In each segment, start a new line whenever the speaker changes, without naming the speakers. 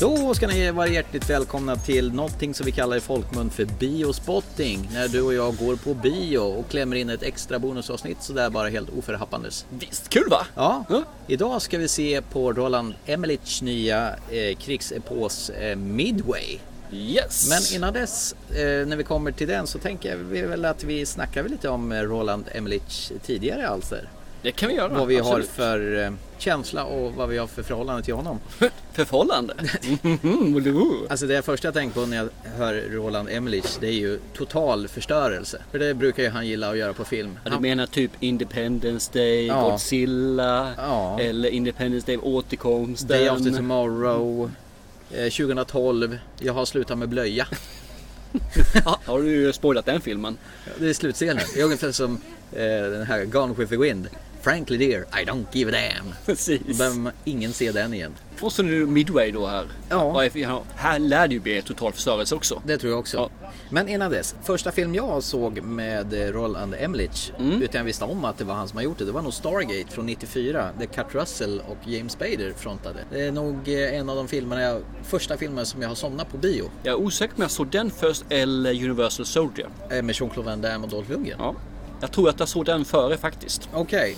då ska ni vara hjärtligt välkomna till någonting som vi kallar i folkmun för biospotting. När du och jag går på bio och klämmer in ett extra bonusavsnitt sådär bara helt oförhappandes.
Visst, kul va?
Ja,
Ja.
idag ska vi se på Roland Emmerlichs nya eh, krigsepos eh, Midway.
Yes!
Men innan dess, eh, när vi kommer till den så tänker jag vi väl att vi snackar väl lite om eh, Roland Emmerlichs tidigare alster.
Det kan vi göra.
Vad vi
absolut.
har för eh, känsla och vad vi har för förhållande till honom.
för förhållande. Mhm, woho.
Alltså det första jag tänker på när jag hör Roland Emmerlich det är ju total förstörelse. För det brukar ju han gilla att göra på film.
Ja, du
Han,
menar typ Independence Day,
Ja.
Godzilla,
Ja.
eller Independence Day återkomsten.
Day After Tomorrow, eh, 2012, Jag har slutat med blöja.
Ja, har du ju spoilat den filmen?
Det är slutscenen. Det är ungefär som eh, den här Gone with the Wind. Frankly dear, I don't give a damn. Då
Precis.
behöver man ingen se den igen.
Och så nu Midway då här.
Ja.
Och if- ja, Här lär det ju bli total förstörelse också.
Det tror jag också.
Ja.
Men innan dess, första film jag såg med eh, Roland Emmerich
Mm.
utan jag visste om att det var han som har gjort det, det var nog Stargate från 94 där Kurt Russell och James Spader frontade. Det är nog eh, en av de filmerna jag, första filmen som jag har somnat på bio
Jag är osäker om jag såg den först eller Universal Soldier.
eh, med Jean-Claude Van Damme och Dolph Lundgren.
Ja. Jag tror att jag såg den före faktiskt.
Okej.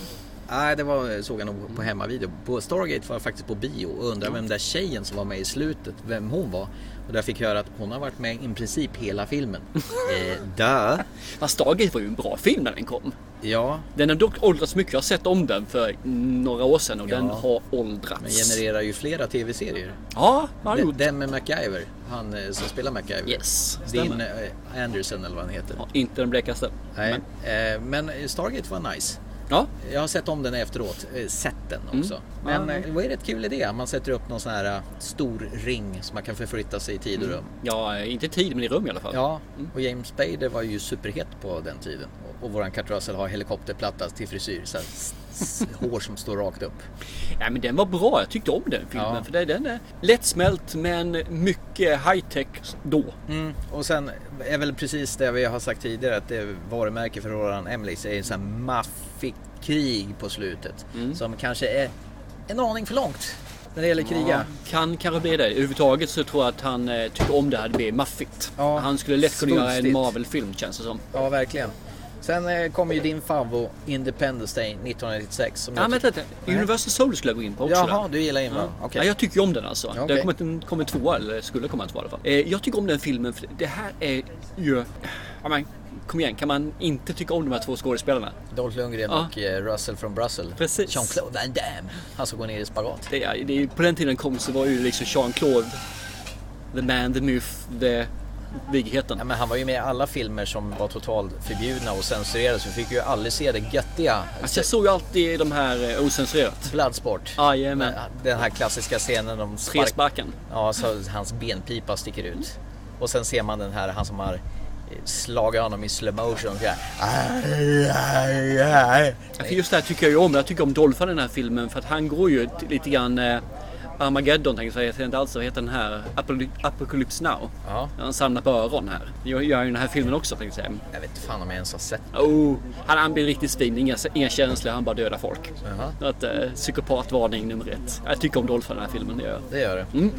Nej, det var, såg jag nog på hemmavideo. På Stargate var jag faktiskt på bio och undrade vem där tjejen som var med i slutet, vem hon var. Och där fick jag höra att hon har varit med i princip hela filmen. eh, dö.
Fast Stargate var ju en bra film när den kom.
Ja,
Den har dock åldrats mycket. Jag har sett om den för några år sedan och den
Ja.
har åldrats.
men genererar ju flera tv-serier.
Ja, den har
Den,
gjort.
den med MacGyver, han eh, som spelar MacGyver.
Yes,
Dean
stämmer.
eh, Anderson eller vad han heter.
Ja, inte den blekaste.
Nej. eh, Men Stargate var nice.
Ja,
Jag har sett om den efteråt, eh, sett den också.
Mm. Ja,
Men eh, det var ju rätt kul idé, man sätter upp någon sån här eh, stor ring som man kan förflytta sig i tid
Mm.
och rum.
ja, inte i tid men i rum i alla fall.
Ja, och James Spader var ju superhet på den tiden. Och, och våran Kurt Russell har helikopterplatta till frisyr, så här, s- s- hår som står rakt upp.
Nej, men den var bra. Jag tyckte om den filmen.
Ja.
För det- den är lättsmält men mycket high-tech då.
Mm. Och sen är väl precis det vi har sagt tidigare att det varumärke för Roland Emmerich är en sån här maffig krig på slutet.
Mm.
Som kanske är en aning för långt när det gäller kriga.
Kan kanske bli det. Överhuvudtaget så tror jag att han eh, tyckte om det här. Det blev maffigt.
Ja,
Han skulle lätt kunna göra en
svulstigt.
Marvel-film känns det som.
Ja, verkligen. Sen eh, kommer ju din favvo Independence Day 1996. Som
Ja,
jag
men
tycker-
vänta, vänta. Universal Soul skulle jag gå in på också.
Jaha,
där.
du gillar invandrare?
Ja.
Okej.
Ja, jag tycker ju om den alltså.
Okej.
Den kommer inte- kommer tvåa, eller skulle komma tvåa i alla fall. Eh, jag tycker om den filmen för det här är ju... Ja, men, kom igen, kan man inte tycka om de här två skådespelarna?
Dolph Lundgren
Ja.
och eh, Russell från Brussels.
Precis.
Jean-Claude Van Damme. Han som går ner i spagat.
Det, är- det, är- på den tiden kom så var ju liksom Jean-Claude, the man, the myth, the... Vigheten.
Ja, men han var ju med i alla filmer som var totalt förbjudna och censurerades. Vi fick ju aldrig se det göttiga.
Alltså, jag såg ju alltid de här eh, ocensurerat.
Bloodsport.
Jajamän.
Den här klassiska scenen om spark-
Tre sparken.
Ja, så hans benpipa sticker ut. Och sen ser man den här, han som har eh, slagit honom i slow motion. Så här. Aj, aj, aj.
Ja, För just det här tycker jag ju om. Jag tycker om Dolphin i den här filmen för att han går ju t- lite grann eh, Armageddon tänkte jag säga. Jag ser inte alls vad heter den här. Apoly- Apocalypse Now.
Ja.
Han samlar på öron här. Jag gör ju den här filmen också tänkte jag säga.
Jag vet inte fan om jag ens har sett
Oh, han, han blir riktigt svin. Inga, inga känslor. Han bara dödar folk.
Jaha.
Så att, eh, psykopatvarning nummer ett. Jag tycker om Dolphin i den här filmen. Det gör jag.
det. gör det.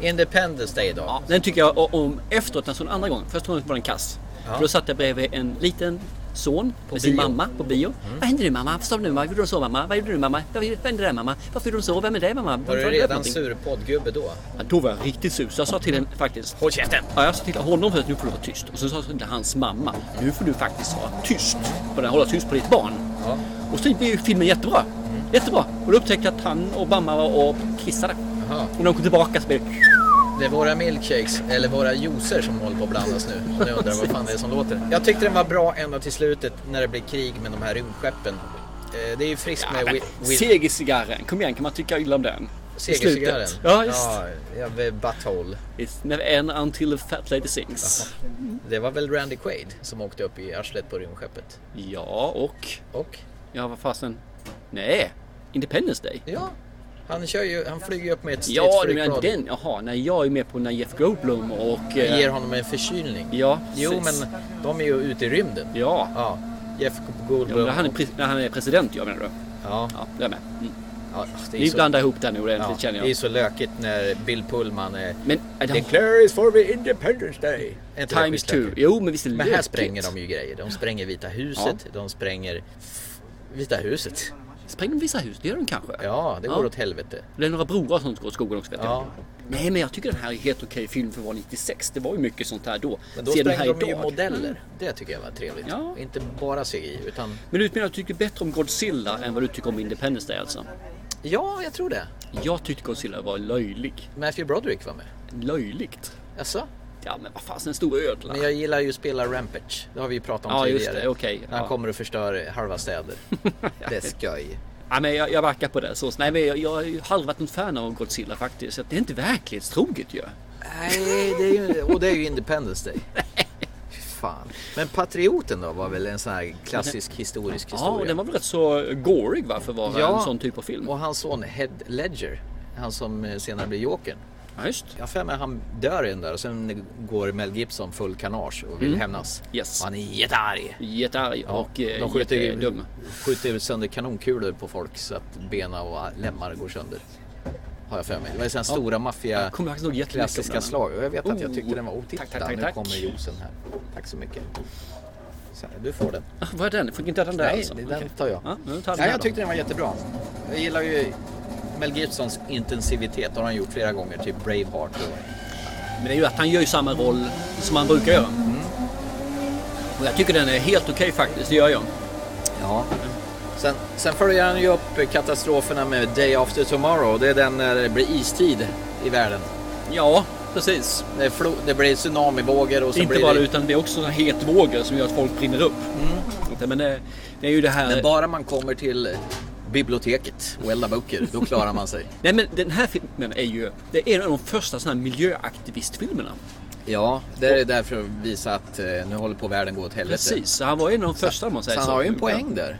Ja. Independence Day då.
Mm. Ja, den tycker jag o- om efteråt när jag såg den andra gången. Första gången var den kass.
Ja.
För då satt jag bredvid en liten son med sin
bio. Mm.
mamma på bio. Vad hände nu mamma? Stopp nu mamma. Gjorde de så mamma? Vad gjorde du mamma? Vad vad hände där mamma? Varför gjorde de så? Vem är det mamma?
Var
Varför
du
har gjort
redan
någonting?"
sur poddgubbe då?
Ja, då var jag riktigt sur. Så jag sa till den faktiskt.
Håll käften!
Ja, jag sa till honom först nu får du vara tyst. Och så sa jag till hans mamma. Nu får du faktiskt vara tyst. För den håller tyst på ditt barn.
Ja. Mm.
Och så blev ju filmen jättebra. Jättebra. Och då upptäckte jag att han och mamma var och kissade.
Jaha.
Och när de kom tillbaka så blev det...
Det är våra milkshakes, eller våra juicer som håller på att blandas nu. Och nu undrar jag vad fan det är som låter. Jag tyckte den var bra ända till slutet när det blir krig med de här rymdskeppen. Eh, Det är ju friskt med Wi- Wi-
Ah, Segercigarren, kom igen kan man tycka illa om den? I
Segercigarren.
slutet. Ja, just.
Ja, ja, Butthole.
It's never end until the fat lady sings.
Det var väl Randy Quaid som åkte upp i arslet på rymdskeppet?
Ja, och...
Och?
Ja, vad fasen? Nej! Independence Day?
Ja, han, kör ju, han flyger ju upp med ett Street
Ja, du
Freak
menar
radio.
den? Jaha, nej jag är med på när Jeff Goldblum och... eh,
Ger honom en förkylning.
Ja,
Jo,
precis.
men de är ju ute i rymden.
Ja.
Ja, Jeff
ja men
Goldblum.
när, han är, pres- när han är president, jag menar du?
Ja.
Ja, det är med. Mm.
Ja, det är
Ni
så-
blandar ihop det nu ordentligt
ja,
känner
Det är
jag.
så lökigt när Bill Pullman är...
Men äh, de,
Declare is for the Independence Day. Är inte det
times
skitlökigt?
two. Jo, men visst är det
Men här
lökigt.
spränger de ju grejer. De spränger Vita huset, de spränger Vita huset.
Spränger de vissa hus? Det gör de kanske?
Ja, det går åt helvete.
Det är några broar som går åt skogen också vet
Ja.
jag. Nej, men jag tycker den här är helt okej film för att vara 96. Det var ju mycket sånt här då.
Men då
Ser den
sprängde
här
de ju
idag. Mm.
modeller. Det tycker jag var trevligt.
Ja.
Inte bara CGI, utan
Men utmärkt, jag tycker bättre om Godzilla än vad du tycker om Independence Day alltså.
ja, jag tror det.
Jag tyckte Godzilla var löjlig.
Matthew Broderick var med.
Löjligt?
Jaså?
Ja, men vad fasen, en stor ödla.
Men jag gillar ju att spela Rampage. Det har vi ju pratat om
Ja, just
tidigare.
det. Okej.
När han
Ja.
kommer och förstör halva städer. det är skoj.
Ja, men jag, jag backar på det. Så, nej, men jag, jag har ju aldrig varit något fan av Godzilla faktiskt. Så att det är inte verklighetstroget ju.
Nej, det är ju, och det är ju Independence Day. Fy Fan. Men Patrioten då var väl en sån här klassisk historisk
Ja, och
historia?
den var väl rätt så gorig va, för att vara
Ja.
en sån typ av film.
Och hans son Head Ledger, han som eh, senare blir Jokern.
Ja, just.
Jag har för mig att han dör i den där och sen går Mel Gibson full kanage och vill hämnas.
Mm. Yes.
Och han är jättearg.
Jättearg och eh,
de skjuter,
jättedum.
skjuter sönder kanonkulor på folk så att bena och lemmar går sönder. Har jag för mig. Det var ju sådana stora maffia
Kommer jag faktiskt ihåg jättemycket om
klassiska
den.
slag. Och jag vet att jag tyckte
Oh.
den var otitta.
Tack, tack, tack,
Nu
tack.
kommer juicen här. Tack så mycket. Så här, du får den.
Ah, Vad är den? Fick inte jag den där
Nej,
alltså?
den
Okej.
tar jag.
Ja, men då tar jag den
Nej,
här
jag
då.
tyckte den var jättebra. Jag gillar ju Mel Gibsons intensivitet. har han gjort flera gånger. Typ Braveheart. Och...
Men det är ju att han gör ju samma roll som han brukar göra.
Mm.
Och jag tycker den är helt okej faktiskt, det gör jag.
Ja. Sen, sen följer han ju upp katastroferna med Day After Tomorrow. Det är den när det blir istid i världen.
Ja, precis.
Det, är flo- det blir tsunamivågor och så
Inte
blir
bara
det...
utan det är också sådana hetvågor som gör att folk brinner upp. Inte, Men det, det är ju det här...
Mm. Men bara man kommer till biblioteket och eldar böcker, då klarar man sig.
Nej men den här filmen är ju... Det är en av de första sådana här miljöaktivistfilmerna.
Ja, det är därför att visa att eh, nu håller på världen gå åt helvete.
Precis, så han var en av de första om man
Så
säger
han
så. Mm.
har ju en poäng där.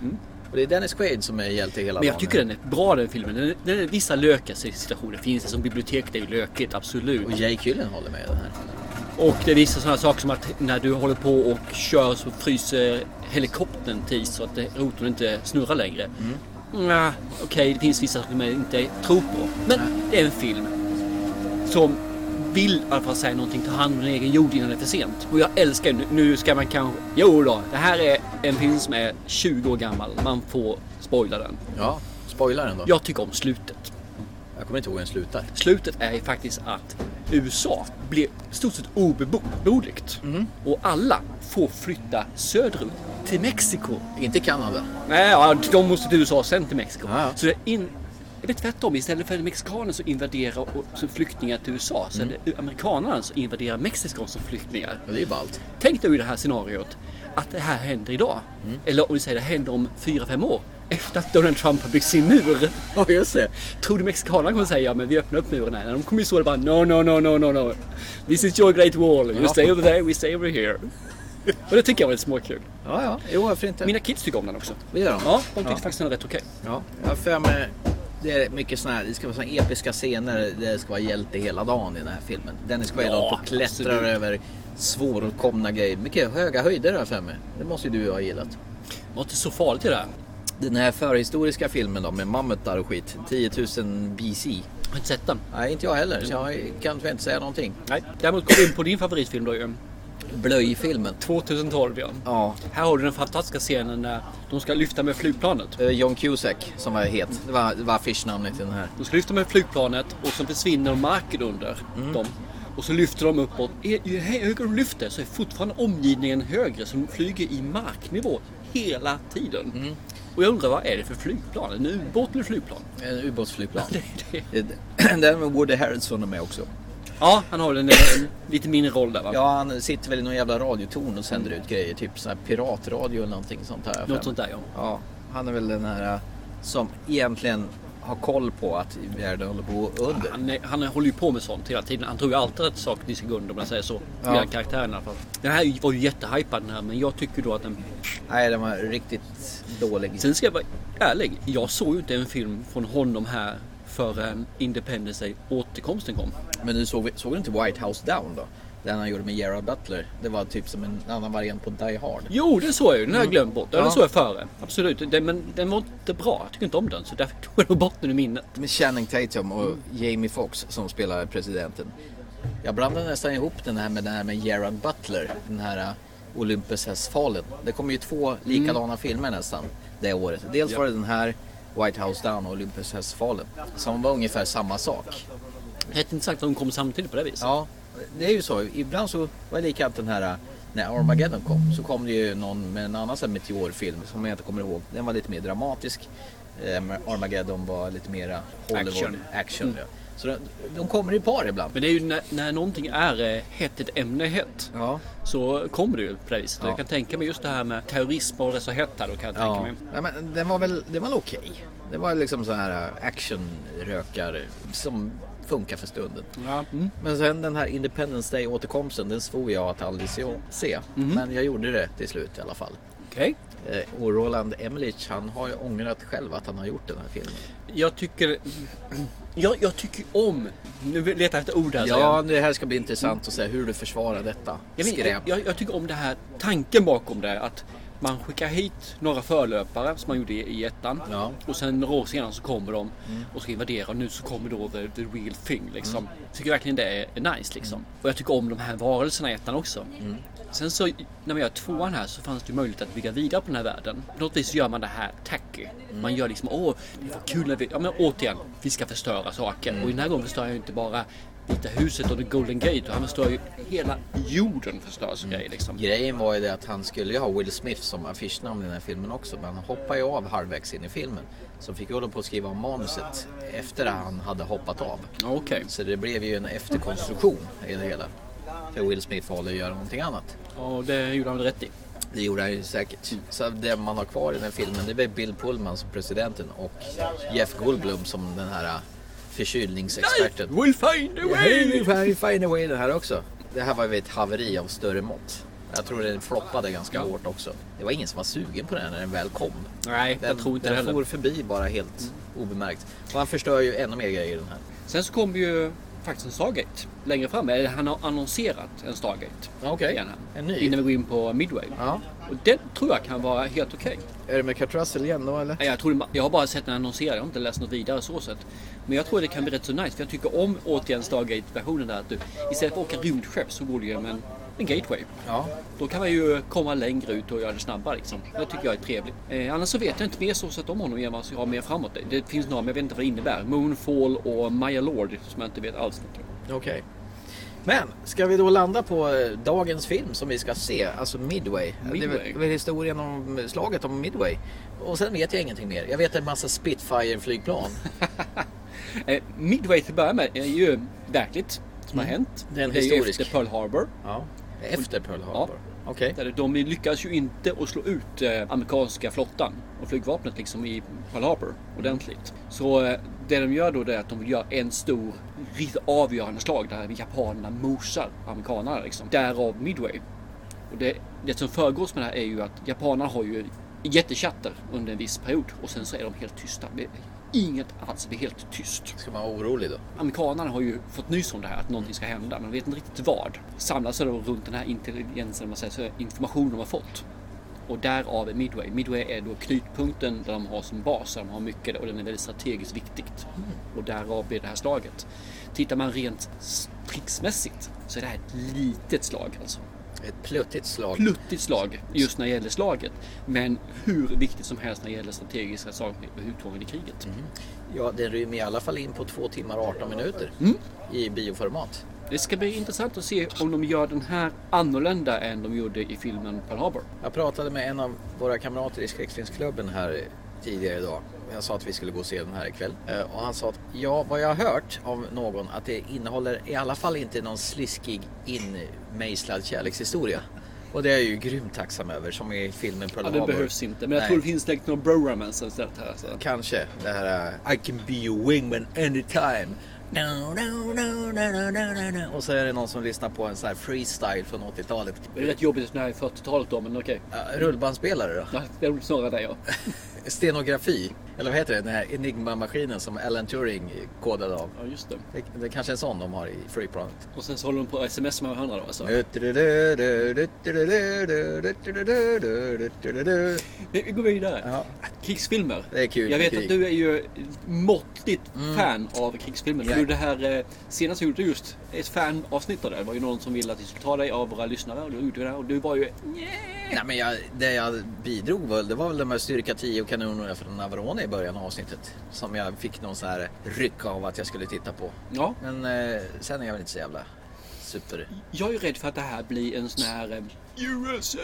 Och det är Dennis Quaid som är hjälte hela
Men
dagen.
jag tycker den är bra den filmen. Den, den är vissa lökiga situationer finns det. Som biblioteket är ju lökigt, absolut.
Och Jake Gyllenhaal är med i den här.
Och det är vissa sådana saker som att när du håller på och kör så fryser helikoptern till is så att det- rotorn inte snurrar längre. Mm. nja, Okej, det finns vissa saker man inte tror på. Men det är en film som vill i alla fall säga någonting, ta hand om din egen jord innan det är för sent. Och jag älskar nu, nu ska man kanske... Jo då, det här är en film som är 20 år gammal. Man får spoila den.
Ja, spoilar den då.
Jag tycker om slutet.
Jag kommer inte ihåg hur den slutar.
Slutet är ju faktiskt att USA blir i stort sett obeboeligt.
Mm.
Och alla får flytta söderut till Mexiko.
Inte Kanada.
Nej, ja, de måste till USA sen till Mexiko.
Ja, ja.
Så det är in... Det är tvärtom. Istället för mexikaner som invaderar och- som flyktingar till USA så är
Mm.
det amerikanerna som invaderar Mexiko som flyktingar.
Ja, det är ju ballt.
Tänk dig i det här scenariot att det här händer idag.
Mm.
Eller om vi säger det händer om 4-5 år. Efter att Donald Trump har byggt sin mur.
Ja, just det.
Tror du mexikanerna kommer säga ja men vi öppnar upp muren här? De kommer ju stå där bara no, no, no, no, no, no. This is your great wall. You
Ja.
stay over there, we stay over here. Och det tycker jag var lite småkul.
Ja, ja. Jo, varför inte?
Mina kids tycker om den också.
Det gör de?
Ja, de tyckte
Ja.
faktiskt den var rätt okej.
Ja, jag har för mig det är mycket såna här, det ska vara såna episka scener, det ska vara hjälte hela dagen i den här filmen. Dennis Quaid
Ja,
håller på och klättrar
absolut.
över svåråtkomna grejer. Mycket höga höjder har jag för mig. Det måste ju du ha gillat.
Det var inte så farligt i det här.
Den här förhistoriska filmen då med mammutar och skit, 10 000 BC.
Jag har inte sett den.
Nej, inte jag heller, så jag kan tyvärr inte säga någonting.
Nej. Däremot kom vi in på din favoritfilm då ju.
Blöjfilmen.
2012 ja.
Ja.
Här har du den fantastiska scenen när de ska lyfta med flygplanet.
Eh, John Cusack som var het. Det var, det var affischnamnet i den här.
De ska lyfta med flygplanet och sen försvinner marken under dem. Och så lyfter de uppåt. Ju ju högre de lyfter så är fortfarande omgivningen högre så de flyger i marknivå hela tiden. Och jag undrar vad är det för flygplan? En ubåt eller flygplan?
En ubåtsflygplan.
Det är det.
Eh, Där var Woody Harrelson med också.
Ja, han har en, en lite mindre roll där va?
Ja, han sitter väl i någon jävla radiotorn och sänder ut grejer. Typ sån här piratradio eller någonting sånt här.
Något sånt där ja.
Ja, han är väl den här eh, som egentligen har koll på att världen håller på att gå under.
Han, är- han håller ju på med sånt hela tiden. Han tror ju alltid rätt sak i sekund om man säger så.
Ja.
Med den karaktären i alla fall. Den här var ju jättehypad den här men jag tycker då att den
Nej, den var riktigt dålig.
Sen ska jag vara ärlig. Jag såg ju inte en film från honom här förrän Independence Day återkomsten kom.
Men du såg, såg du inte White House Down då? Den han gjorde med Gerard Butler. Det var typ som en annan variant på Die Hard.
Jo, det såg jag ju. Den har jag glömt bort. Ja,
Mm. Ja.
Den såg jag före. Absolut. Den, men den var inte bra. Jag tycker inte om den. Så därför tog jag nog bort den ur minnet.
Med Channing Tatum och Jamie Foxx som spelar presidenten. Jag blandade nästan ihop den här med den här med Gerard Butler. Den här eh, Olympus-hästfalen. Det kom ju två likadana filmer nästan det året. Dels var det den här White House Down och Olympus-hästfalen. Som var ungefär samma sak.
Rätt intressant att de kom samtidigt på det viset.
Ja, det är ju så. Ibland så var det likadant den här eh, när Armageddon kom så kom det ju någon med en annan sån här meteorfilm som jag inte kommer ihåg. Den var lite mer dramatisk. Eh, men Armageddon var lite mera Hollywood action.
Action. Mm.
ja. Så de, de kommer i par ibland.
Men det är ju när, när någonting är eh, hett, ett ämne är hett.
Ja,
Så kommer det ju på det viset.
Ja.
Jag kan tänka mig just det här med terrorism och det så hett här då. Kan jag tänka
ja.
mig.
Nej, men den var väl, den var okej. Det var liksom så här eh, actionrökare som funkar för stunden.
Ja. Mm.
Men sen den här Independence Day återkomsten, den svor jag att aldrig se. se.
Mhm.
Men jag gjorde det till slut i alla fall.
Okej.
Eh, Och Roland Emmerich han har ju ångrat själv att han har gjort den här filmen.
Jag tycker... Jag, jag tycker om... Nu letar jag efter ord här. säger jag.
Ja, det här ska bli intressant att se hur du försvarar detta
Jag, vet-
skräp.
jag, jag tycker om det här tanken bakom det. Att man skickar hit några förlöpare som man gjorde i, i ettan.
Ja.
Och sen några år senare så kommer de
Mm.
och ska invadera. Och nu så kommer då the, the real thing. Liksom. Jag tycker verkligen det är, är nice. Liksom.
Mm.
Och jag tycker om de här varelserna i ettan också. Sen så när man gör tvåan här så fanns det ju möjlighet att bygga vidare på den här världen. På något vis så gör man det här tacky.
Mm.
Man gör liksom åh, det var kul när vi... Ja men återigen, vi ska förstöra saker.
Mm.
Och den här gången förstör jag ju inte bara Vita huset och The Golden Gate. Och han förstör ju hela jorden förstörs
Mm.
och grejer liksom.
Grejen var ju det att han skulle ju ha Will Smith som affischnamn i den här filmen också. Men han hoppade ju av halvvägs in i filmen. Så fick ju hålla på att skriva om manuset efter att han hade hoppat av.
Ja, Okej.
Så det blev ju en efterkonstruktion i det hela. För Will Smith valde att göra någonting annat.
Ja, det gjorde han väl rätt i.
Det gjorde han ju säkert.
Mm.
Så det man har kvar i den här filmen det är väl Bill Pullman som presidenten och Jeff Goldblum som den här äh, förkylningsexperten.
We'll find a way!
Harry Fine Away den här också. Det här var ju ett haveri av större mått. Jag tror den floppade ganska
Ja.
hårt också. Det var ingen som var sugen på den här när den väl kom.
Nej,
Den,
jag tror inte det
den
heller. Mm.
for förbi bara helt obemärkt. Och han förstör ju ännu mer grejer i den här.
Sen så kommer ju faktiskt en Stargate längre fram. Eller han har annonserat en Stargate.
Ja, okej.
Igen här.
En ny.
Innan vi går in på Midway.
Ja.
Och den tror jag kan vara helt okej.
Är det med Kurt Russell igen då eller?
Nej, Jag, tror, jag har bara sett den annonserad, jag har inte läst något vidare så sett. Men jag tror det kan bli rätt så nice, för jag tycker om återigen Stargate-versionen där. Att du, istället för att åka rymdskepp så går du genom en, en gateway.
Ja.
Då kan man ju komma längre ut och göra det snabbare liksom. Det tycker jag är trevligt. Eh, annars så vet jag inte mer så sett om honom än vad jag har mer framåt. Det- Det finns några, men jag vet inte vad det innebär. Moonfall och Maya Lord som jag inte vet alls någonting om.
Okej. Men ska vi då landa på eh, dagens film som vi ska se, alltså Midway. Det är väl-
Midway?
väl historien om slaget om Midway. Och sen vet jag ingenting mer. Jag vet en massa Spitfire-flygplan.
Eh, Midway till att börja med är ju verkligt som har hänt.
Mm. Det är en
ju
historisk.
efter Pearl Harbor.
Ja. Efter Pearl Harbor. Okej.
Där de lyckas ju inte att slå ut eh, amerikanska flottan och flygvapnet liksom i Pearl Harbor ordentligt. Så eh, det de gör då det är att de vill göra en stor riktigt avgörande slag där japanerna mosar amerikanerna liksom. Därav Midway. Och det, det som föregås med det här är ju att japanerna har ju jättechatter under en viss period och sen så är de helt tysta. Det är Inget alls, det är helt tyst.
Ska man vara orolig då?
Amerikanerna har ju fått nys om det här, att någonting ska hända, men vet inte riktigt vad. Samlar sig då runt den här intelligensen, man säger, så information de har fått. Och därav är Midway. Midway är då knutpunkten där de har som bas, där de har mycket och den är väldigt strategiskt viktigt. Och därav blir det här slaget. Tittar man rent stridsmässigt så är det här ett litet slag alltså.
Ett pluttigt slag.
Pluttigt slag just när det gäller slaget, men hur viktigt som helst när det gäller strategiska saker och utgången i kriget.
Ja, den rymmer i alla fall in på 2 timmar och 18 minuter. I bioformat.
Det ska bli intressant att se om de gör den här annorlunda än de gjorde i filmen Pearl Harbor.
Jag pratade med en av våra kamrater i skräckfilmsklubben här tidigare idag. Jag sa att vi skulle gå och se den här ikväll. Eh, Och han sa att ja, vad jag har hört av någon att det innehåller i alla fall inte någon sliskig inmejslad kärlekshistoria. Och det är jag ju grymt tacksam över som i filmen Pearl
Ja, det
Harbor.
behövs inte. Men jag
Nej.
tror det finns säkert någon broromance eller sånt här. Så.
Kanske det här eh, I can be your wingman anytime. No, no, no, no, no, no, no. Och så är det någon som lyssnar på en sån här freestyle från 80-talet.
Det är rätt jobbigt när jag är 40-talet då, men okej.
Eh, Rullbandspelare då?
Ja, Det är snarare det ja.
Stenografi. Eller vad heter det? Den här Enigma-maskinen som Alan Turing kodade av.
Ja, just det.
Det, det är kanske är en sån de har i Freeprint.
Och sen så håller de på att smsa med varandra då alltså. Vi vi går vidare.
Ja.
Krigsfilmer.
Det är kul
Jag
med
vet
krig. Mm.
att du är ju måttligt fan av krigsfilmer.
Ja.
Du det här eh, senast gjorde du just ett fanavsnitt av det. Det var ju någon som ville att vi skulle ta dig av våra lyssnare och du gjorde det här och du var ju...
Nej, men jag, det jag bidrog väl, det var väl de här styrka 10 och kanonerna från Averone i början av avsnittet. Som jag fick någon sån här ryck av att jag skulle titta på.
Ja,
Men eh, sen är jag väl inte så jävla super...
jag är ju rädd för att det här blir en sån här... eh, USA!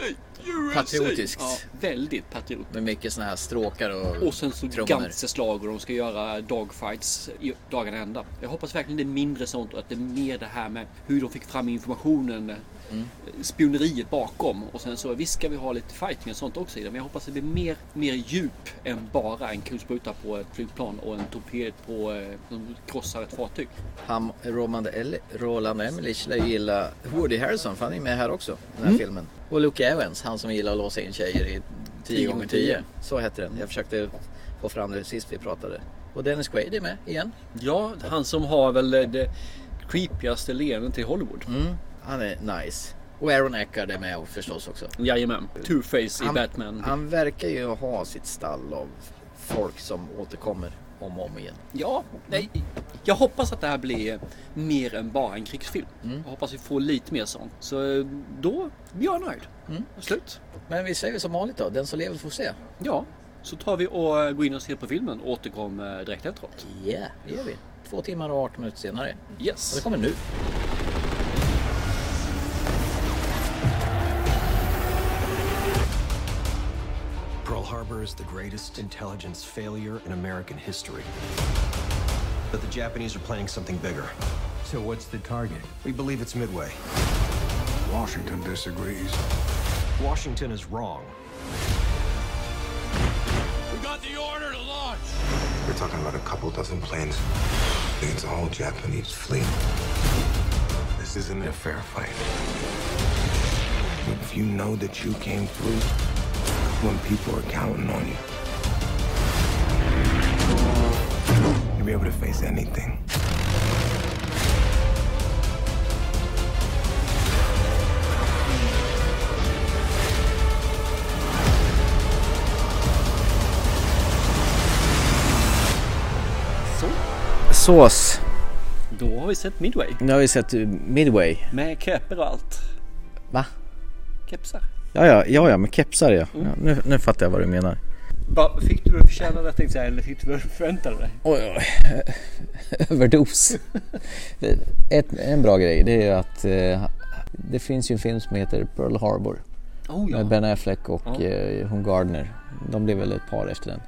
USA!
Patriotiskt.
Ja, väldigt patriotiskt.
Med mycket såna här stråkar och,
Och sen så
trummor.
gangsterslag och de ska göra dogfights i dagarna ända. Jag hoppas verkligen det är mindre sånt och att det är mer det här med hur de fick fram informationen, eh, spioneriet bakom. Och sen så visst ska vi ha lite fighting och sånt också i det. Men jag hoppas det blir mer, mer djup än bara en kulspruta på ett flygplan och en torped på, eh, som krossar ett fartyg.
Han, Roland, El- Roland Emmerich lär ju gilla Woody Harrison, för han är med här också, i den här filmen. Och Luke Evans, han som gillar att låsa in tjejer i 10 gånger 10 Så hette den. Jag försökte få fram det sist vi pratade. Och Dennis Quaid är med igen.
Ja, han som har väl eh, det creepigaste leendet i Hollywood.
Mm. Han är nice. Och Aaron Eckhart är med förstås också. Mm.
Jajamän. Two-Face i Batman.
han verkar ju ha sitt stall av folk som återkommer om och om igen.
Ja, nej. Jag hoppas att det här blir mer än bara en krigsfilm. Jag hoppas vi får lite mer sånt. Så eh, då blir jag nöjd. Slut.
Men vi säger som vanligt då, den som lever får se.
Ja, så tar vi och eh, går in och ser på filmen och återkommer direkt efteråt.
Ja, yeah, det gör vi. Två timmar och 18 minuter senare. Och det
Yes.
kommer nu.
Pearl Harbor is the greatest intelligence failure in American history. But the Japanese are planning something bigger.
So what's the target?
We believe it's Midway.
Washington disagrees.
Washington is wrong.
We're talking about a couple dozen planes against a whole Japanese fleet. This isn't a fair fight. If you know that you came through when people are counting on you, you'll be able to face anything.
Så,
Sås.
då har vi sett Midway.
Nu har vi sett Midway.
Med käpor och allt.
Va?
Kepsar.
Ja, ja, ja, ja med kepsar ja. ja nu, nu fattar jag vad du menar.
Va, fick du det du förtjänade tänkte jag säga, eller fick du vad du förväntade dig?
Oj, oj. Överdos. Ett, en bra grej det är ju att eh, det finns ju en film som heter Pearl Harbor
Oh
med Ben Affleck och
Ja.
eh, hon Gardner. De blev väl ett par efter den.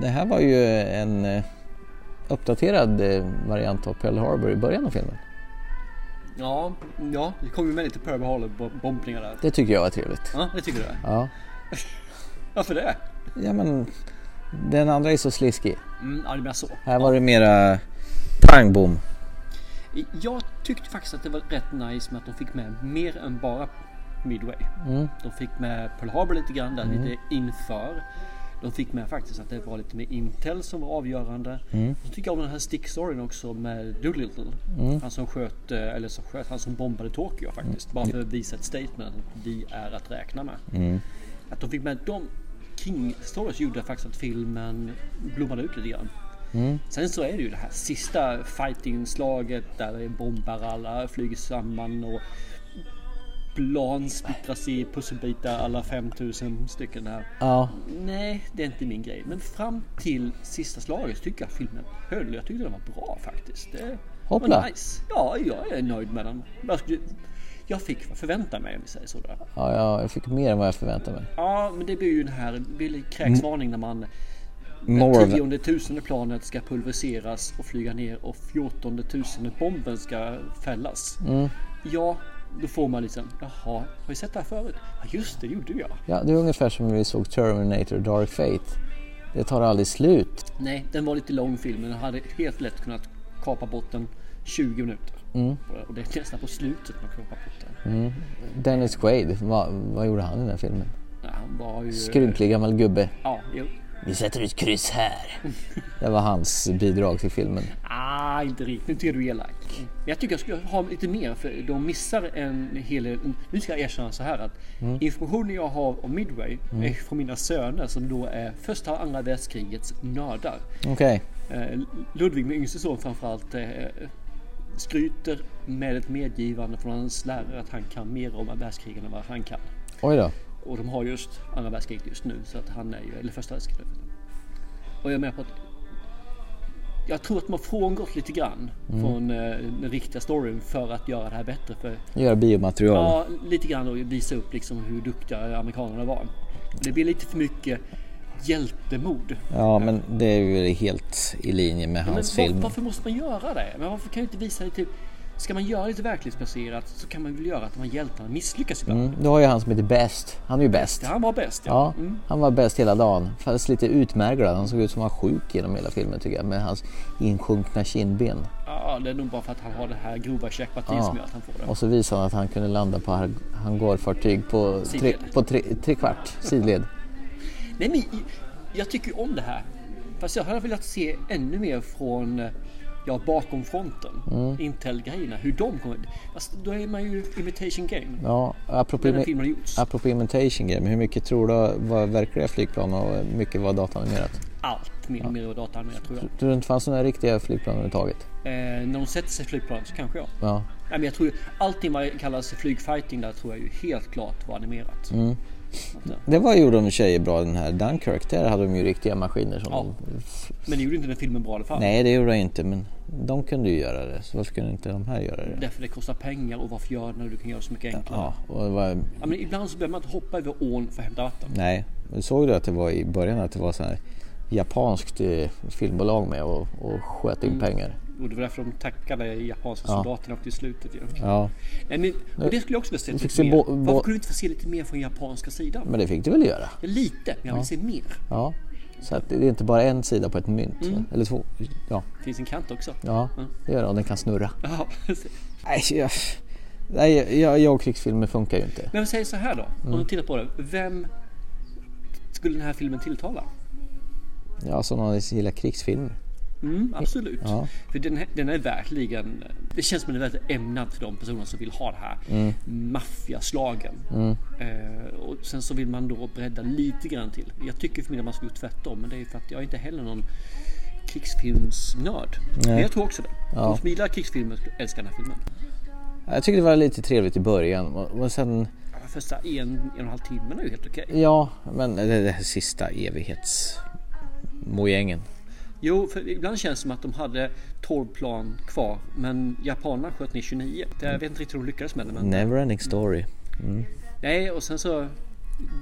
Det här var ju en eh, uppdaterad eh, variant av Pearl Harbor i början av filmen.
Ja, ja, det kom ju med lite Pearl Harbor-bombningar där.
Det tycker jag var trevligt.
Ja, det tycker du?
Ja,
Varför det?
ja men den andra är så sliskig.
Mm, ja, det menar så.
Här var det mera pang bom.
Jag tyckte faktiskt att det var rätt nice med att de fick med mer än bara Midway.
Mm.
De fick med Pearl Harbor lite grann där lite inför. De fick med faktiskt att det var lite mer Intel som var avgörande.
Mm.
Så tycker jag om den här stickstoryn också med Doolittle.
Mm.
Han som sköt, eh, eller som sköt, han som bombade Tokyo faktiskt. Bara för att visa ett statement att vi är att räkna med.
Mm.
Att de fick med de kring stories gjorde faktiskt att filmen blommade ut lite grann.
Mm.
Sen så är det ju det här sista fighting-slaget där det bombar alla, flyger samman och plan splittras i pusselbitar alla 5000 stycken här.
Ja,
Nej, det är inte min grej. Men fram till sista slaget så tycker jag filmen höll. Jag tyckte den var bra faktiskt. Det
Hoppla.
var nice. Ja, jag är nöjd med den. Jag, skulle, jag fick vad jag förväntade mig om vi säger så. Där.
ja, ja, jag fick mer än vad jag förväntade mig.
Ja, men det blir ju den här det blir lite kräksvarning när man
More of-
tionde tusende planet ska pulveriseras och flyga ner och fjortonde tusende bomben ska fällas. Ja, då får man liksom, jaha, har vi sett det här förut? Ja, just det, det gjorde jag.
Ja, det är ungefär som vi såg Terminator Dark Fate. Det tar aldrig slut.
Nej, den var lite lång film, men den hade helt lätt kunnat kapa bort den 20 minuter. Och det är nästan på slutet man kapar bort den.
Dennis Quaid, vad, vad gjorde han i den här filmen?
Ja, han var ju...
Skrynklig gammal gubbe.
Ja, jo.
Vi sätter ut kryss här.
Det var hans bidrag till filmen.
Ah, inte riktigt. Nu tycker du är elak. Jag tycker jag skulle ha lite mer för de missar en hel del. Nu ska jag erkänna så här att informationen jag har om Midway är från mina söner som då är första och andra världskrigets nördar.
Okej.
Eh, Ludvig, min yngste son framförallt, eh, skryter med ett medgivande från hans lärare att han kan mer om världskrigen än vad han kan.
Oj då.
Och de har just andra världskriget just nu så att han är ju, eller första världskriget. Och jag är med på att jag tror att man frångått lite grann
Mm.
från eh, den riktiga storyn för att göra det här bättre. För,
Gör biomaterial.
ja, lite grann och visa upp liksom hur duktiga amerikanerna var. Det blir lite för mycket hjältemod.
Ja, men det är ju helt i linje med hans
men var-
alltså, film.
Varför måste man göra det? Men varför kan du inte visa det typ... Ska man göra lite verklighetsbaserat så kan man väl göra att de här hjältarna misslyckas ibland.
Mm, Du har ju han som heter Bäst. Han är ju bäst.
Det här var bäst ja.
Ja, han var bäst hela dagen. Fast lite utmärglad. Han såg ut som han var sjuk genom hela filmen tycker jag. Med hans insjunkna kindben.
ja. Det är nog bara för att han har det här grova käkpartiet
Ja.
som gör att han får det.
Och så visade han att han kunde landa på hang- hangarfartyg på tre,
Sidled.
på tre, tre kvart sidled.
Nej men i- jag tycker ju om det här. Fast jag hade velat se ännu mer från eh, ja, bakom fronten. Intel-grejerna, hur de kommer. Fast då är man ju imitation game.
Ja, apropå,
Men den filmen har gjorts.
apropå imitation game, hur mycket tror du var verkliga flygplan och hur mycket var datanimerat?
Allt mer och mer och data med tror jag.
Tror du inte fanns några riktiga flygplan överhuvudtaget?
Eh, när de sätter sig i flygplan så kanske jag.
Ja.
Nej, men jag tror ju, allting vad kallas flygfighting där tror jag ju helt klart var
Mm.
animerat.
Det var gjorde de i och för sig bra den här Dunkirk. Där hade de ju riktiga maskiner som
Ja.
de
Men det gjorde inte den filmen bra i alla fall.
Nej, det gjorde jag inte, men de kunde ju göra det. Så varför kunde inte de här göra det?
Därför det kostar pengar och varför gör det när du kan göra så mycket enklare? Ja.
Ja, och det var,
men ibland så behöver man inte hoppa över ån för att hämta vatten.
nej. Men Såg du att det var i början att det var så här japanskt eh, filmbolag med och, och sköt in pengar?
Och det var därför de tackade japanska soldaterna och till slutet ju.
Ja,
Nej, men, och det skulle jag också vilja se
fick
lite
se
mer.
bo- bo-
Varför kunde du inte få se lite mer från japanska sidan?
men det fick du väl göra?
Ja, Lite, men jag vill se mer.
Ja. Så att det är inte bara en sida på ett mynt, eller två. Ja,
Det finns en kant också.
ja det gör det. Och den kan snurra.
Ja, precis.
Mm. Nej, jag, nej jag, jag och krigsfilmer funkar ju inte.
men vi säger så här då. Om
Mm.
du tittar på det. Vem skulle den här filmen tilltala?
Ja, som någon gillar krigsfilmer.
Mm, absolut.
Ja.
För den, här- den är verkligen... Det känns som den är väldigt ämnad för de personer som vill ha det här maffiaslagen. Eh, och sen så vill man då bredda lite grann till. Jag tycker för min del man skulle gjort tvärtom. Men det är ju för att jag är inte heller någon krigsfilmsnörd. Men jag tror också det. De som gillar krigsfilmer älskar den här filmen.
Jag tycker det var lite trevligt i början och, och sen
Ja, Första en, en och en halv timmen är ju helt okej.
Ja, men det, det här sista evighets mojängen.
Jo, för ibland känns det som att de hade 12 plan kvar. Men japanerna sköt ner 29. Det- Jag vet inte riktigt hur de lyckades med det. Men...
Neverending story.
Nej, och sen så...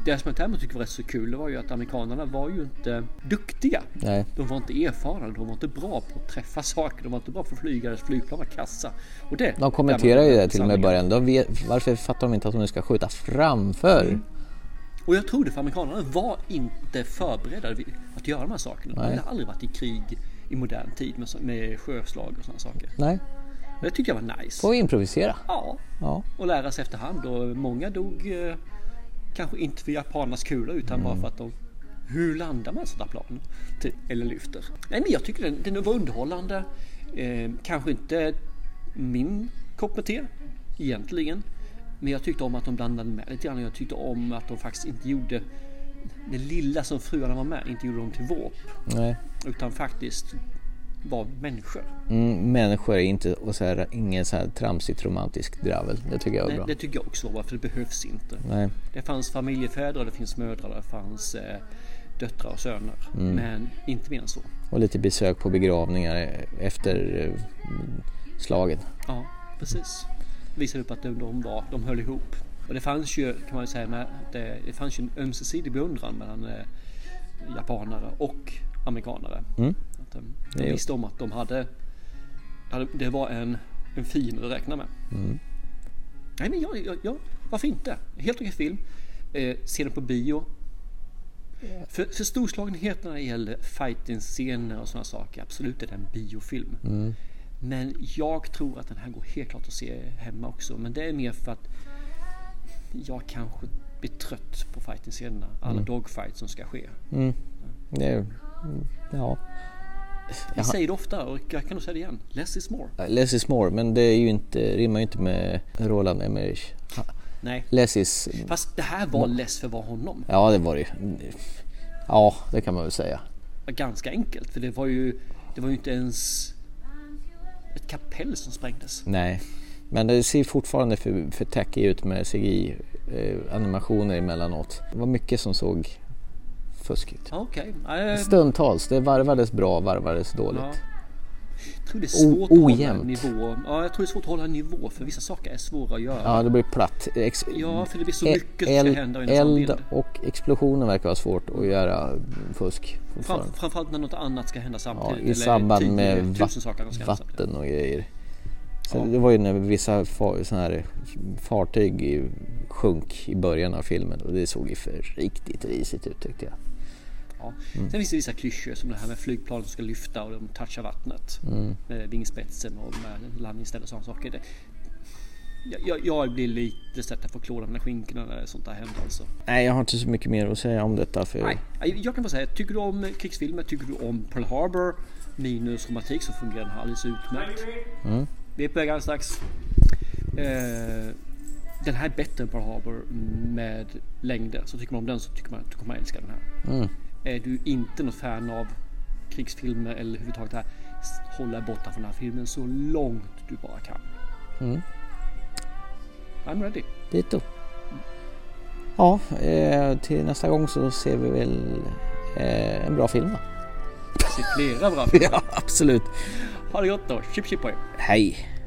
Det som jag däremot tyckte var rätt så kul det var ju att amerikanerna var ju inte duktiga.
Nej.
De var inte erfarna, de var inte bra på att träffa saker, de var inte bra på att flyga, deras flygplan var kassa. Och det,
De kommenterar ju det till och med i
Sanningen.
början. De vet, varför fattar de inte att de nu ska skjuta framför?
Mm. Och jag tror det för amerikanerna var inte förberedda vid att göra de här sakerna. De hade aldrig varit i krig i modern tid med, så- med sjöslag och sådana saker.
Nej,
Men det tyckte jag var nice.
får improvisera.
Ja,
Ja.
och lära sig efterhand. Och många dog eh, kanske inte för japanernas kula utan bara för att de... Hur landar man ett sånt här plan? Typ, eller lyfter? Nej men jag tycker den, den var underhållande. Eh, kanske inte min kopp med te egentligen. Men jag tyckte om att de blandade med lite grann och jag tyckte om att de faktiskt inte gjorde det lilla som fruarna var med, inte gjorde dem till våp.
Nej.
Utan faktiskt var människor.
Mm, människor är inte och så här, ingen så här tramsigt romantisk dravel. Det tycker jag är
Nej,
bra.
det tycker jag också var bra, för det behövs inte.
Nej.
Det fanns familjefäder, det finns mödrar, det fanns eh, döttrar och söner. Men inte mer än så.
Och lite besök på begravningar eh, efter eh, slagen.
Ja, precis. Det visade upp att de, de, var, de höll ihop. Och det fanns ju, kan man ju säga, med, det, det fanns ju en ömsesidig beundran mellan eh, japanare och amerikanare. Att de, de
ju-
visste om att de hade, hade det var en, en fiende att räkna med. Nej men jag, jag, jag, varför inte? Helt okej film. Eh, se den på bio. För, för storslagenheterna när det gäller fighting-scener och sådana saker, absolut är det en biofilm. Men jag tror att den här går helt klart att se hemma också. Men det är mer för att
Mm.
jag kanske blir trött på fighting-scenerna. Alla dogfights som ska ske.
Det är, ja.
Jag säger det ofta och jag kan nog säga det igen. Less is more.
Less is more, men det är ju inte, rimmar ju inte med Roland Emmerich.
Nej.
Less is...
Fast det här var
Mm.
less för att vara honom.
Ja, det var det ju. Ja, det kan man väl säga.
Ganska enkelt. För det var ju, det var ju inte ens ett kapell som sprängdes.
Nej. Men det ser fortfarande för, för tacky ut med CGI-animationer eh, emellanåt. Det var mycket som såg fuskigt ut.
Ja, Okej. Okay.
Stundtals. Det varvades bra, varvades dåligt.
Ja. Jag tror det är svårt att hålla en
ojämnt.
nivå. Ja, jag tror det är svårt att hålla en nivå för vissa saker är svåra att göra.
Ja, det blir platt. Ex-
Ja, för det blir så
e-
mycket som
eld-
ska hända i en sån
Eld
bild.
och explosioner verkar vara svårt att göra fusk.
Fram,
fortfarande.
framförallt när något annat ska hända
Ja,
samtidigt.
I samband
tio,
med
tusen
va-
saker som ska hända samtidigt.
vatten och grejer. Så
Ja.
Det var ju när vissa fa- såna här fartyg i- sjönk i början av filmen och det såg ju för riktigt risigt ut tyckte jag.
Ja. Sen finns det vissa klyschor som det här med flygplan som ska lyfta och de touchar vattnet.
Mm.
Med vingspetsen och med landningsställ och sådana saker. Det, jag- jag, jag blir lite så att jag får klåda mina skinkorna när sånt där händer alltså.
Nej, jag har inte så mycket mer att säga om detta. För...
Nej, jag- jag kan bara säga, tycker du om krigsfilmer, tycker du om Pearl Harbor minus romantik så fungerar den här alldeles utmärkt.
Mm.
Vi är på väg alldeles strax. Eh, den här är bättre än Pearl Harbor med längder. Så tycker man om den så tycker man att du kommer älska den här.
Mm.
Är du inte något fan av krigsfilmer eller överhuvudtaget det här, s- håll dig borta från den här filmen så långt du bara kan.
Mm.
I'm ready.
Dito. Ja, eh, till nästa gång så ser vi väl eh, en bra film då.
Se flera bra filmer.
Ja, absolut.
Ha det gott då. Chip chip på er.
Hej!